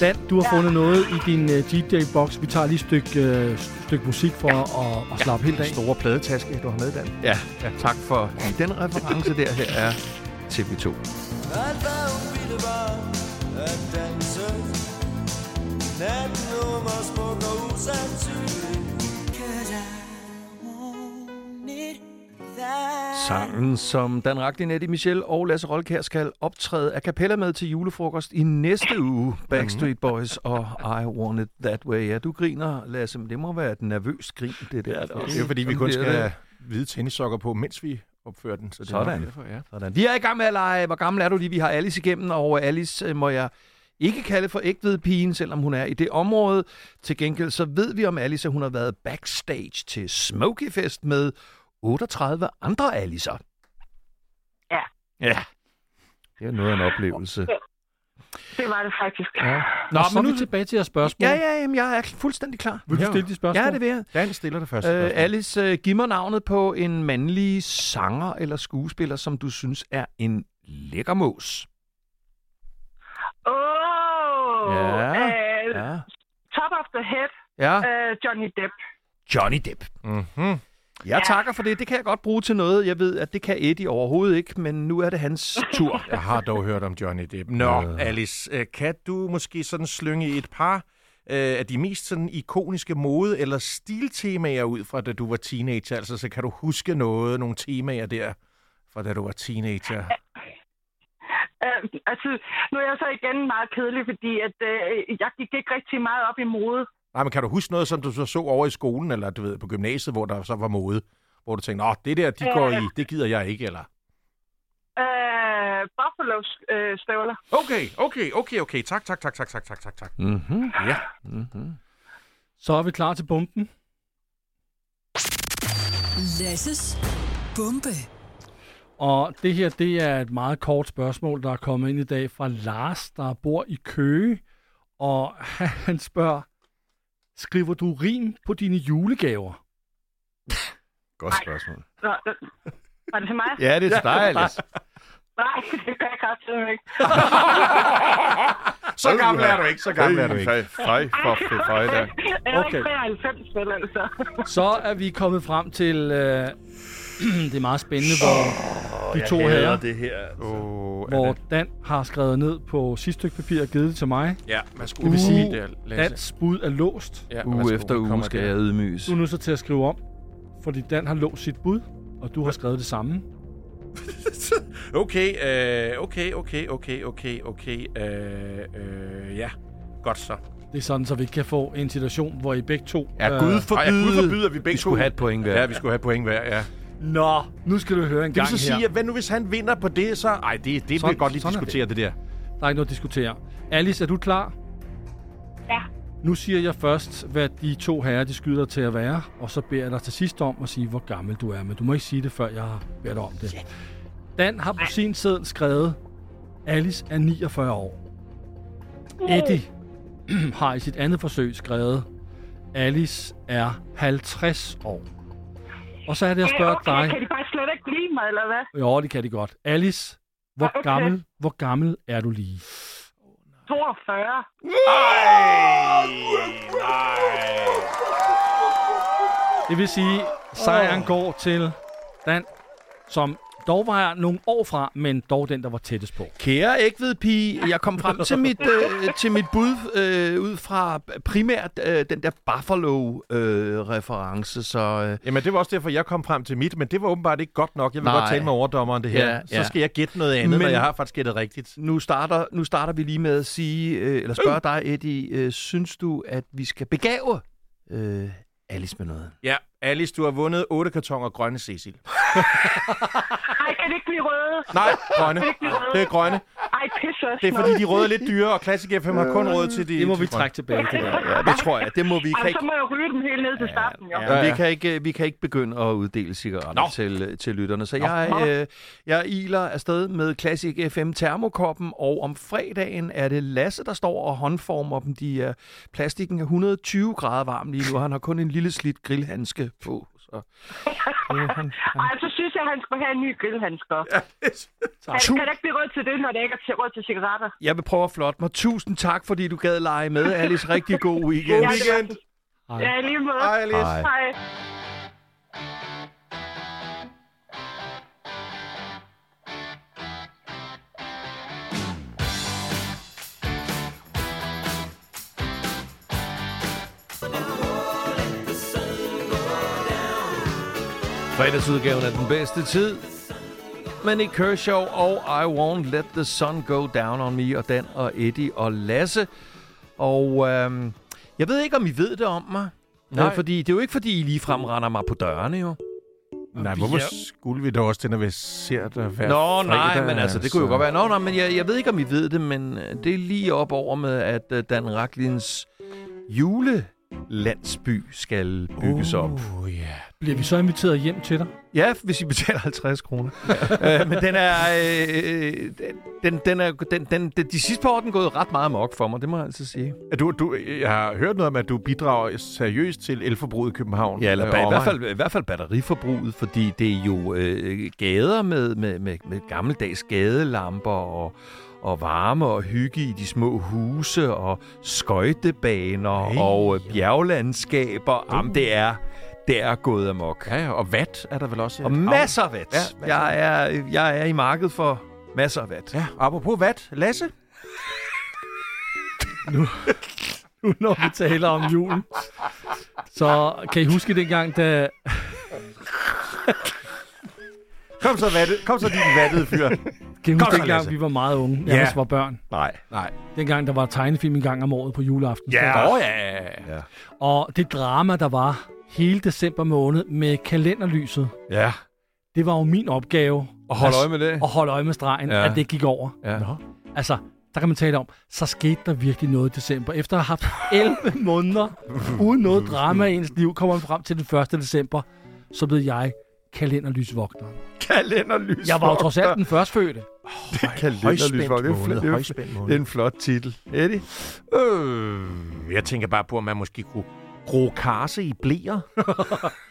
Speaker 4: Dan, du har fundet noget i din uh, DJ-box. Vi tager lige et stykke, uh, stykke musik for ja. at, at slappe helt af.
Speaker 2: Store pladetaske, du har med, Dan. Ja, ja. tak for den reference der her er TV2. Sangen, som Dan Ragdi, Nettie Michel og Lasse Rolkær skal optræde af kapella med til julefrokost i næste uge. Backstreet Boys og I Want It That Way. Ja, du griner, Lasse, men det må være et nervøst grin, det der.
Speaker 1: Det er jo fordi, vi
Speaker 2: Sådan
Speaker 1: kun
Speaker 2: bliver
Speaker 1: skal
Speaker 2: det.
Speaker 1: have hvide tennissokker på, mens vi opfører den. Så det er nok
Speaker 2: Sådan.
Speaker 1: Derfor, ja.
Speaker 2: Sådan. Vi er i gang med at lege. Hvor gammel er du lige? Vi har Alice igennem, og Alice øh, må jeg ikke kalde for ægtved pigen, selvom hun er i det område. Til gengæld så ved vi om Alice, at hun har været backstage til Smoky Fest med 38 andre Alice'er.
Speaker 8: Ja.
Speaker 2: Ja. Det er noget af en oplevelse.
Speaker 8: Det var det faktisk.
Speaker 2: Ja.
Speaker 4: Nå,
Speaker 2: Nå,
Speaker 4: og så
Speaker 2: men
Speaker 4: er
Speaker 2: nu...
Speaker 4: vi tilbage til jeres spørgsmål.
Speaker 2: Ja, ja, jamen, jeg er fuldstændig klar.
Speaker 4: Vil du
Speaker 1: Ja.
Speaker 4: stille de spørgsmål?
Speaker 2: Ja, det vil jeg.
Speaker 1: Dan stiller det første
Speaker 2: Øh,
Speaker 1: spørgsmål.
Speaker 2: Alice, øh, giv mig navnet på en mandlig sanger eller skuespiller, som du synes er en lækker mås.
Speaker 8: Åh! Oh,
Speaker 2: Ja,
Speaker 8: øh,
Speaker 2: Ja.
Speaker 8: Top of the head,
Speaker 2: ja.
Speaker 8: øh, Johnny Depp.
Speaker 2: Johnny Depp.
Speaker 1: Mhm.
Speaker 2: Jeg takker for det. Det kan jeg godt bruge til noget. Jeg ved, at det kan Eddie overhovedet ikke, men nu er det hans tur.
Speaker 1: Jeg har dog hørt om Johnny Depp. Nå, Alice, øh, kan du måske sådan slynge et par øh, af de mest sådan ikoniske mode- eller stiltemaer ud fra, da du var teenager? Altså, så kan du huske noget, nogle temaer der fra da du var teenager?
Speaker 8: Øh, altså, nu er jeg så igen meget kedelig, fordi at, øh, jeg gik ikke rigtig meget op i mode.
Speaker 1: Nej, men kan du huske noget, som du så, så over i skolen, eller du ved, på gymnasiet, hvor der så var mode? Hvor du tænkte, åh, det der, de går i, det gider jeg ikke, eller?
Speaker 8: Øh, Buffalo-støvler.
Speaker 1: Okay, okay, okay, okay. Tak, tak, tak, tak, tak, tak, tak, tak.
Speaker 2: Mm-hmm.
Speaker 1: Ja.
Speaker 4: Så er vi klar til bomben.
Speaker 3: Lasses bombe.
Speaker 4: Og det her, det er et meget kort spørgsmål, der er kommet ind i dag fra Lars, der bor i Køge. Og han spørger, skriver du rim på dine julegaver?
Speaker 2: Godt spørgsmål.
Speaker 8: Nå, øh, var det til mig?
Speaker 2: Ja, det er til dig, Alice.
Speaker 8: Nej, det gør jeg kraftigt ikke.
Speaker 1: Så gammel er du ikke, så gammel er du ikke.
Speaker 9: Fej, fej, for fej, da.
Speaker 8: Jeg er
Speaker 4: Okay.
Speaker 8: ikke 93, vel altså.
Speaker 4: Så er vi kommet frem til, øh, det er meget spændende, hvor de to herrer,
Speaker 9: det her. Altså.
Speaker 1: Åh, Anna.
Speaker 4: hvor Dan har skrevet ned på sidste stykke papir og givet det til mig.
Speaker 1: Ja, værsgo.
Speaker 4: Det vil sige,
Speaker 1: der,
Speaker 4: Dans bud er låst.
Speaker 1: Ja,
Speaker 2: Uge
Speaker 1: værsgo,
Speaker 2: efter uge
Speaker 1: kommer
Speaker 2: skal
Speaker 1: der.
Speaker 2: jeg ydmyges.
Speaker 4: Du er nødt så til at skrive om, fordi Dan har låst sit bud, og du har skrevet det samme.
Speaker 1: Okay, øh, okay, okay, okay, okay, okay. Øh, øh, ja, godt så.
Speaker 4: Det er sådan, så vi ikke kan få en situation, hvor I begge to... Øh,
Speaker 2: Ja,
Speaker 1: Øh, ah,
Speaker 2: Gud
Speaker 1: Ej, jeg kunne forbyde,
Speaker 2: forbyde.
Speaker 1: at vi begge
Speaker 2: Vi skulle
Speaker 1: to-
Speaker 2: have et point hver.
Speaker 1: Ja, vi skulle have et point hver, ja.
Speaker 4: Nå, nu skal du høre en
Speaker 1: Det vil
Speaker 4: gang
Speaker 1: så
Speaker 4: her.
Speaker 1: sige, at hvad nu hvis han vinder på det, så... Ej, det, det vil
Speaker 4: Sådan-
Speaker 1: jeg godt lige
Speaker 4: sådan er
Speaker 1: diskutere, det. det der.
Speaker 4: Der er ikke noget at diskutere. Alice, er du klar?
Speaker 8: Ja.
Speaker 4: Nu siger jeg først, hvad de to herrer, de skyder dig til at være, og så beder jeg dig til sidst om at sige, hvor gammel du er, men du må ikke sige det, før jeg har bedt dig om det. Dan har på sin seddel skrevet, Alice er 49 år. Eddie har i sit andet forsøg skrevet, Alice er 50 år. Og så er det, jeg spørger
Speaker 8: okay,
Speaker 4: dig...
Speaker 8: Kan de bare slet ikke lide mig, eller hvad?
Speaker 4: Jo, det kan de godt. Alice, hvor,
Speaker 8: Ah, okay.
Speaker 4: gammel, hvor gammel er du lige?
Speaker 8: 42.
Speaker 4: Det vil sige, sejren går til Dan, som dog var nogle år fra, men dog den, der var tættest på.
Speaker 2: Kære ægved pige, jeg kom frem til mit, øh, til mit bud øh, ud fra primært øh, den der Buffalo-reference, så... Øh,
Speaker 1: Jamen, det var også derfor, jeg kom frem til mit, men det var åbenbart ikke godt nok. Jeg vil
Speaker 2: Nej.
Speaker 1: godt tale med overdommeren det her.
Speaker 2: Ja,
Speaker 1: så
Speaker 2: ja.
Speaker 1: skal jeg gætte noget andet, men...
Speaker 2: Men-
Speaker 1: når jeg har faktisk gættet rigtigt.
Speaker 2: nu starter, nu starter vi lige med at sige, øh, eller spørge dig, Eddie, øh, synes du, at vi skal begave øh, Alice med noget?
Speaker 1: Ja, Alice, du har vundet 8 kartonger grønne Cecil.
Speaker 8: Ej, kan det ikke blive røde?
Speaker 1: Nej, grønne. Det er grønne.
Speaker 8: Ej, pisse også
Speaker 1: Det er fordi, de røde er lidt dyre, og Classic FM har kun råd til de...
Speaker 4: Det må
Speaker 1: til
Speaker 4: vi
Speaker 1: grønne.
Speaker 4: trække tilbage til der.
Speaker 2: Ja, det tror jeg. Det må vi
Speaker 8: Ej,
Speaker 2: kan
Speaker 8: så
Speaker 2: ikke.
Speaker 8: må jeg ryge dem helt ned til starten, jo.
Speaker 2: Ja, vi, kan ikke, øh, vi kan ikke begynde at uddele cigaretter til, øh, til lytterne. Så jeg, øh, jeg iler afsted med Classic FM Termokoppen, og om fredagen er det Lasse, der står og håndformer dem. De er, plastikken er 120 grader varm lige nu, og han har kun en lille slidt grillhandske på. Så, øh, han,
Speaker 8: Ej, så synes jeg, han skulle have en ny grillhandsker. Ja, kan, kan det ikke blive råd til det, når det ikke er til- råd til cigaretter?
Speaker 2: Jeg vil prøve at flotte mig. Tusind tak, fordi du gad lege med, Alice. Rigtig god weekend.
Speaker 8: Ja, det var det. Ja, i lige måde.
Speaker 1: Hej, Alice.
Speaker 2: Hej.
Speaker 8: Hej.
Speaker 2: Fredagsudgaven er den bedste tid. Whitman i Kershaw og I Won't Let The Sun Go Down On Me, og Dan og Eddie og Lasse. Og øhm, jeg ved ikke, om I ved det om mig.
Speaker 1: Nej.
Speaker 2: Øh, Fordi, det er jo ikke, fordi I ligefrem render mig på dørene, jo.
Speaker 1: Nej, hvorfor
Speaker 2: Ja.
Speaker 1: skulle vi da også til, når vi ser dig hver
Speaker 2: Nå,
Speaker 1: fredag?
Speaker 2: nej, men altså, det kunne jo godt være. Nå, nej, men jeg, jeg ved ikke, om I ved det, men øh, det er lige op over med, at øh, Dan Raklins julelandsby skal bygges op.
Speaker 1: Oh, ja.
Speaker 4: Bliver vi så inviteret hjem til dig?
Speaker 2: Ja, hvis I betaler 50 kroner. øh, men den er... Øh, den, den er den, den, den, de sidste par år er den gået ret meget mok for mig, det må jeg altså sige.
Speaker 1: Er Du, du, jeg har hørt noget om, at du bidrager seriøst til elforbruget i København.
Speaker 2: Ja, eller
Speaker 1: Øh,
Speaker 2: ba- i,
Speaker 1: omegn.
Speaker 2: hvert fald, i hvert fald batteriforbruget, fordi det er jo øh, gader med, med, med, med gammeldags gadelamper og, og varme og hygge i de små huse og skøjtebaner hey, og øh, bjerglandskaber. Uh. Jamen, det er, det er gået amok.
Speaker 1: Ja, ja, og vat er der vel også.
Speaker 2: Og
Speaker 1: et
Speaker 2: masser af vat.
Speaker 1: Ja, masser af
Speaker 2: jeg, er, jeg er i markedet for masser af vat.
Speaker 1: Ja, apropos vat, Lasse.
Speaker 4: nu, når vi taler om julen. Så kan I huske dengang, da...
Speaker 1: Kom så, vatte, kom så din vattede fyr.
Speaker 4: Kan I
Speaker 1: Godt så,
Speaker 4: huske dengang,
Speaker 1: Lasse.
Speaker 4: vi var meget unge, nærmest var børn?
Speaker 2: Nej.
Speaker 1: Nej.
Speaker 4: Dengang, der var tegnefilm en gang om året på juleaften.
Speaker 1: Ja. Åh, ja. ja.
Speaker 4: Og det drama, der var hele december måned med kalenderlyset,
Speaker 2: Ja.
Speaker 4: det var jo min opgave
Speaker 2: Og hold
Speaker 4: Altså,
Speaker 2: øje med det.
Speaker 4: at holde øje med stregen,
Speaker 2: Ja.
Speaker 4: ja. at det gik over.
Speaker 2: Ja.
Speaker 4: Altså, der kan man tale om, så skete der virkelig noget i december. Efter at have haft 11 måneder uden noget drama i ens liv, kommer man frem til den 1. december, så blev jeg kalenderlysvogter.
Speaker 2: Kalenderlys.
Speaker 4: Jeg var jo trods alt den førstfødte.
Speaker 2: Kalenderlys. var- Det er jo fl-
Speaker 1: måned,
Speaker 2: det er jo
Speaker 1: højspændt
Speaker 2: fl-
Speaker 1: måned.
Speaker 2: det er en flot titel. Eddie?
Speaker 1: Øh, jeg tænker bare på, om man måske kunne gro karse i blæer.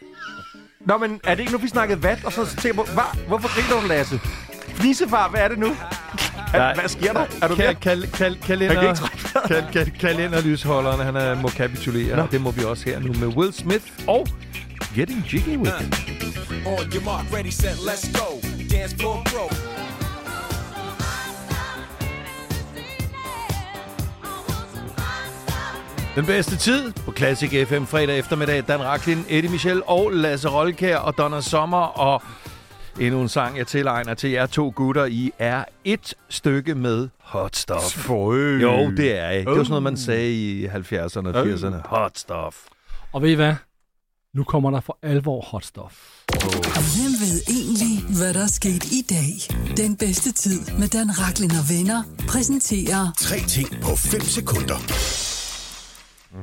Speaker 1: Nå, men er det ikke nu, vi snakkede vat, og så tænker jeg på, hva, hvorfor griner du, Lasse? Fnisefar, hvad er det nu? Er, hvad sker der? Er du
Speaker 2: Kal-
Speaker 1: der?
Speaker 2: kal- kal-
Speaker 1: Jeg kan
Speaker 2: kalender,
Speaker 1: ikke trække
Speaker 2: kal- kal- kalenderlysholderen, han er, må kapitulere. Det må vi også her nu med Will Smith og Getting Jiggy With It.
Speaker 10: On your mark, ready, set, let's go. Dance floor pro.
Speaker 2: Den bedste tid på Classic FM fredag eftermiddag. Dan Raklin, Eddie Michel og Lasse Rolkær og Donna Sommer og endnu en sang, jeg tilegner til jer to gutter. I er et stykke med hot stuff.
Speaker 1: Føj.
Speaker 2: Jo, det er I. Det var sådan noget, man sagde i 70'erne og 80'erne. Hot stuff.
Speaker 4: Og ved I hvad? Nu kommer der for alvor hot stuff.
Speaker 3: Hvem ved egentlig, hvad der er sket i dag? Den bedste tid med Dan Raklin og venner præsenterer
Speaker 10: Tre ting på 5 sekunder.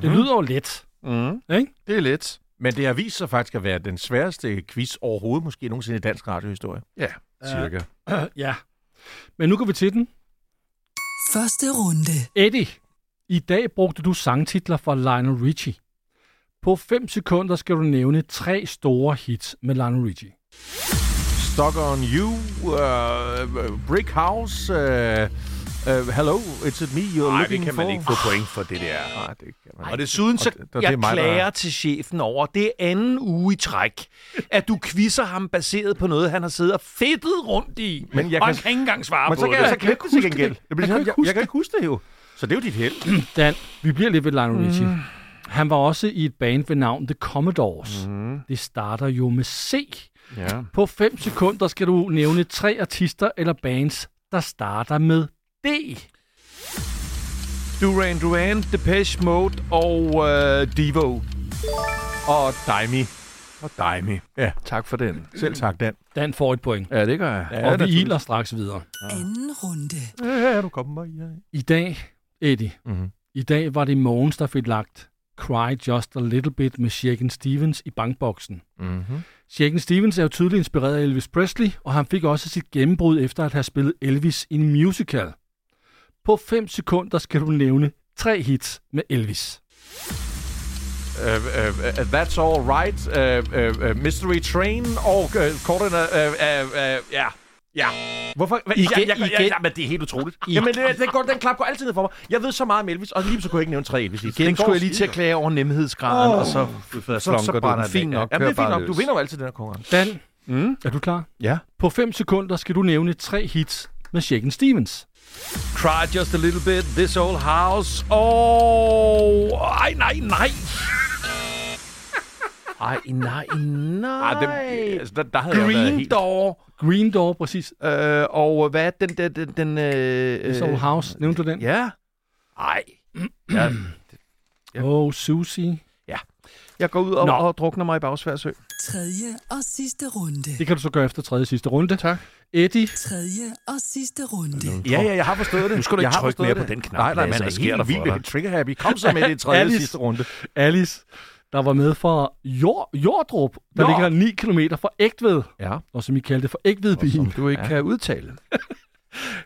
Speaker 4: Det
Speaker 2: Mhm.
Speaker 4: lyder jo let.
Speaker 2: Mm.
Speaker 4: Ikke?
Speaker 2: Det er lidt.
Speaker 1: Men det har vist sig faktisk at være den sværeste quiz overhovedet, måske nogensinde i dansk radiohistorie. Øh,
Speaker 2: Ja, cirka.
Speaker 4: ja. Men nu går vi til den.
Speaker 3: første runde.
Speaker 4: Eddie, i dag brugte du sangtitler fra Lionel Richie. På 5 sekunder skal du nævne tre store hits med Lionel Richie.
Speaker 1: Stuck on you, uh, Brick House, uh, uh, Hello, it's it me you're
Speaker 2: Nej, det
Speaker 1: looking
Speaker 2: kan
Speaker 1: for.
Speaker 2: man ikke få point for det der.
Speaker 1: Nej, det kan man
Speaker 2: Og
Speaker 1: ikke.
Speaker 2: desuden, så
Speaker 1: Og det-
Speaker 2: det,
Speaker 1: og det er
Speaker 2: jeg
Speaker 1: mig, der-
Speaker 2: klager til chefen over, det er anden uge i træk, at du quizzer ham baseret på noget, han har siddet og fedtet rundt i.
Speaker 1: Men jeg
Speaker 2: og
Speaker 1: kan-
Speaker 2: han kan ikke engang svare
Speaker 1: Men
Speaker 2: på
Speaker 1: så kan
Speaker 2: det.
Speaker 1: jeg så klippe det til gengæld. Det bliver
Speaker 4: Jeg kan
Speaker 1: sådan,
Speaker 4: ikke
Speaker 1: Jeg
Speaker 4: huske
Speaker 1: jeg kan ikke huske det jo. Så det er jo dit held.
Speaker 4: Dan, vi bliver lidt ved Lionel Richie. Han var også i et band ved navn The Commodores. Mm. Det starter jo med C.
Speaker 1: Ja.
Speaker 4: På 5 sekunder skal du nævne tre artister eller bands, der starter med D.
Speaker 2: Duran Duran, Depeche Mode og øh, Devo.
Speaker 1: Og dig, Mi. Og dig, Mi. Ja,
Speaker 2: Tak for den.
Speaker 1: selv tak, Dan.
Speaker 4: Dan får et point.
Speaker 2: Ja, det gør jeg.
Speaker 1: Ja,
Speaker 4: og vi
Speaker 1: naturligvis.
Speaker 4: iler straks videre.
Speaker 3: Anden runde.
Speaker 1: Ja, er du kommet mig? Ja.
Speaker 4: I dag, Eddie,
Speaker 1: Mhm.
Speaker 4: i dag var det Mogens, der fik lagt Cry Just a Little Bit med Shaken Stevens i bankboksen.
Speaker 1: Mm-hmm.
Speaker 4: Shaken Stevens er jo tydeligt inspireret af Elvis Presley, og han fik også sit gennembrud efter at have spillet Elvis i en musical. På 5 sekunder skal du nævne tre hits med Elvis.
Speaker 1: Uh, uh, uh, that's all right. Uh, uh, uh, mystery Train og uh, Caught in a... Uh, uh, uh, ja. Ja. Hvorfor? Hva, igen, jeg, jeg, jeg, jeg, jamen, det er helt utroligt. Igen. Jamen, det, det går, den klap går altid ned for mig. Jeg ved så meget om Elvis, og lige så kunne jeg ikke nævne tre Elvis.
Speaker 2: Igen skulle jeg lige til at klage over nemhedsgraden, oh. og så
Speaker 1: Så, så
Speaker 2: slunker du
Speaker 1: brænder
Speaker 2: den.
Speaker 1: den
Speaker 2: Fint
Speaker 1: af.
Speaker 2: nok,
Speaker 1: Jamen, det er
Speaker 2: kør
Speaker 1: fint
Speaker 2: bare
Speaker 1: nok. Du
Speaker 2: løs.
Speaker 1: vinder jo altid den her konkurrence.
Speaker 4: Dan,
Speaker 2: Mm.
Speaker 4: er du klar?
Speaker 2: Ja.
Speaker 4: På 5 sekunder skal du nævne tre hits med Shaken Stevens.
Speaker 2: Cry just a little bit, this old house. Oh, ej, nej, nej. Ej, nej, nej.
Speaker 9: Ah, dem, altså, der, der havde jeg været
Speaker 2: Green
Speaker 9: helt...
Speaker 2: Door.
Speaker 4: Green Door, præcis.
Speaker 2: Øh, og hvad er den der... Den, den, øh,
Speaker 4: Soul House, nævnte du den?
Speaker 2: Ja. Ej. Jeg, Ja.
Speaker 4: Oh, Susie.
Speaker 2: jeg går ud og,
Speaker 4: Nå.
Speaker 2: og drukner mig i Bagsværsø.
Speaker 3: Tredje og sidste runde.
Speaker 4: Det kan du så gøre efter tredje sidste runde.
Speaker 2: Tak.
Speaker 4: Eddie,
Speaker 3: Tredje og sidste runde.
Speaker 1: Ja, ja, jeg har forstået det.
Speaker 2: Nu skal du ikke
Speaker 1: Jeg har
Speaker 2: trykke
Speaker 1: forstået
Speaker 2: mere
Speaker 1: det.
Speaker 2: på den knap,
Speaker 1: Nej, nej,
Speaker 2: Lasse.
Speaker 1: man er
Speaker 2: Hvad sker der
Speaker 1: helt
Speaker 2: for
Speaker 1: vildt
Speaker 2: dig?
Speaker 1: trigger-happy. Kom så med det i tredje
Speaker 4: Alice.
Speaker 1: sidste runde.
Speaker 4: Alice, der var med for Jord, Jordrup, der
Speaker 1: Nå.
Speaker 4: Nå. ligger 9 km fra Ægtved.
Speaker 2: Ja.
Speaker 4: Og som I kaldte for Ægtvedbyen.
Speaker 2: Du ikke ja. kan udtale.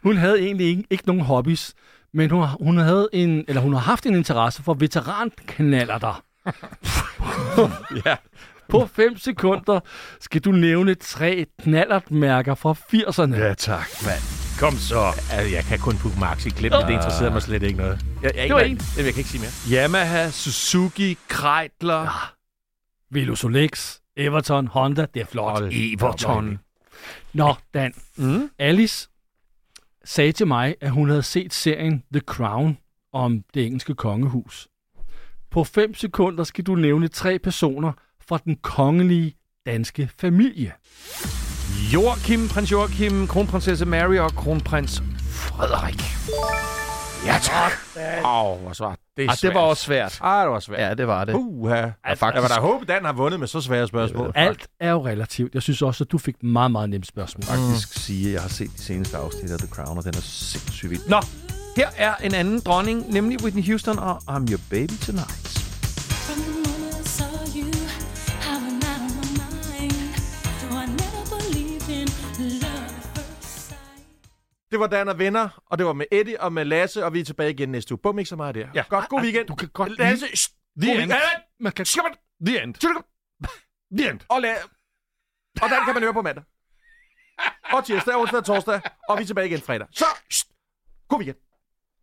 Speaker 4: Hun havde egentlig ikke, ikke nogen hobbies, men hun, har- hun, havde en, eller hun har haft en interesse for veterankanaler der.
Speaker 1: Ja.
Speaker 4: På 5 sekunder skal du nævne tre knallertmærker fra 80'erne. Ja.
Speaker 2: tak.
Speaker 1: Kom så. Altså, jeg kan kun pukke Maxi klip, men det interesserer mig slet ikke noget. Jeg, jeg, det
Speaker 4: var
Speaker 1: en. Jeg, jeg kan ikke sige mere.
Speaker 2: Yamaha, Suzuki, Kreidler. Ja.
Speaker 4: Velo Solex, Everton, Honda, det er flot.
Speaker 1: Hold
Speaker 4: Everton. Nå, Dan.
Speaker 2: Mm.
Speaker 4: Alice sagde til mig, at hun havde set serien The Crown om det engelske kongehus. På 5 sekunder skal du nævne tre personer fra den kongelige danske familie.
Speaker 2: Joachim, prins Joachim, kronprinsesse Mary og kronprins Frederik. Ja, tak.
Speaker 1: Åh, oh, hvor svært. Det er
Speaker 2: Ah, det
Speaker 1: svært.
Speaker 2: var også svært.
Speaker 1: Ah, det var svært.
Speaker 2: Ja, det var det.
Speaker 1: Uha. Jeg,
Speaker 2: faktisk-
Speaker 1: jeg var da håbe, Dan har vundet med så svære spørgsmål.
Speaker 4: Alt er jo relativt. Jeg synes også, at du fik meget, meget nemt spørgsmål.
Speaker 2: faktisk mm. sige, at jeg har set de seneste afsnit af The Crown, og den er sindssygt vild. Nå, her er en anden dronning, nemlig Whitney Houston og I'm Your Baby Tonight.
Speaker 5: From the moment I saw you, I went out of my mind. Though I never believed in love at first sight.
Speaker 1: Det var Dan og venner, og det var med Eddie og med Lasse, og vi er tilbage igen næste uge. Bum, ikke så meget der.
Speaker 2: Ja.
Speaker 1: Godt, god weekend.
Speaker 4: Du kan godt
Speaker 1: Lasse, shh,
Speaker 2: The
Speaker 1: god
Speaker 2: end.
Speaker 1: weekend.
Speaker 4: Man kan...
Speaker 2: The end. The end.
Speaker 1: Og, la- og den kan man høre på mandag. Og tirsdag, onsdag og torsdag, og vi er tilbage igen fredag. Så, shh, god weekend.